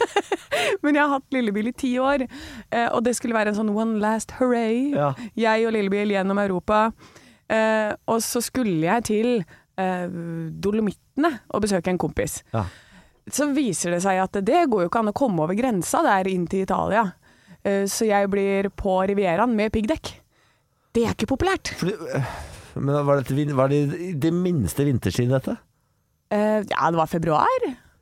C: Men jeg har hatt Lillebil i ti år, eh, og det skulle være en sånn one last hooray.
D: Ja.
C: Jeg og Lillebil gjennom Europa. Eh, og så skulle jeg til eh, Dolomittene og besøke en kompis.
D: Ja.
C: Så viser det seg at det går jo ikke an å komme over grensa der inn til Italia. Eh, så jeg blir på Rivieraen med piggdekk. Det er ikke populært.
D: Fordi, øh, men var det, vin- var det det minste vinterski, dette?
C: Eh, ja, det var februar.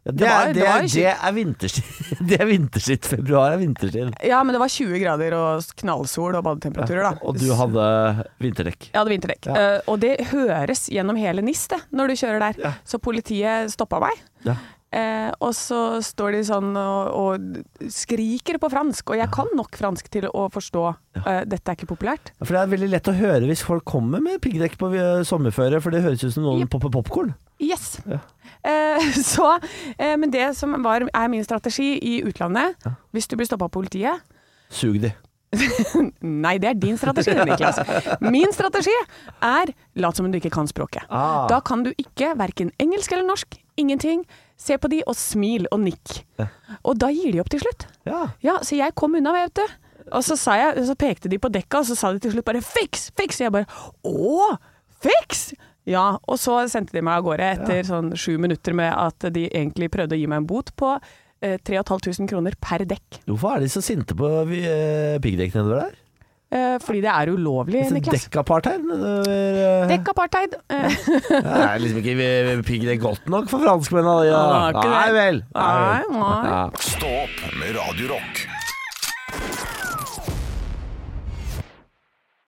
D: Ja, det,
C: Det var-
D: er,
C: det
D: det,
C: var
D: er,
C: jo
D: det er vinterski. *laughs* Det er vinterski. Februar er vinterski.
C: Ja, men det var 20 grader og knallsol og badetemperaturer, da.
D: *laughs* Og du hadde vinterdekk.
C: Jeg hadde vinterdekk. Eh, og det høres gjennom hele NIS det, når du kjører der. Så politiet stoppa meg.
D: Ja.
C: Eh, og så står de sånn og, og skriker på fransk, og jeg kan nok fransk til å forstå eh, dette er ikke populært.
D: For det er veldig lett å høre hvis folk kommer med piggdekk på øh, sommerføre, for det høres ut som noen
C: Jep.
D: popper popkorn.
C: Yes! Eh, *laughs* så, eh, men det som var, er min strategi i utlandet, hvis du blir stoppa av politiet
D: Sug de.
C: Nei, det er din strategi, Niklas. Min strategi er lat som om du ikke kan språket.
D: Ah.
C: Da kan du ikke verken engelsk eller norsk. Ingenting. Se på de og smil og nikk. Og da gir de opp til slutt.
D: Ja.
C: Ja, så jeg kom unna, vet du. Og så, sa jeg, så pekte de på dekka, og så sa de til slutt bare 'fiks, fiks'. Og jeg bare 'å, fiks'? Ja, og så sendte de meg av gårde etter sånn sju minutter med at de egentlig prøvde å gi meg en bot på eh, 3500 kroner per dekk.
D: Hvorfor er de så sinte på øh, piggdekk nedover der?
C: Eh, fordi det er ulovlig,
D: Det er
C: Niklas.
D: Dekkapartheid nedover øh,
C: Dekk apartheid. Eh,
D: Det er liksom ikke piggdekk godt nok for franskmennene. Ja.
C: Ja, det er ikke det.
D: Nei vel. Nei vel.
C: Nei, nei.
D: Ja.
B: Stå opp med Radio Rock.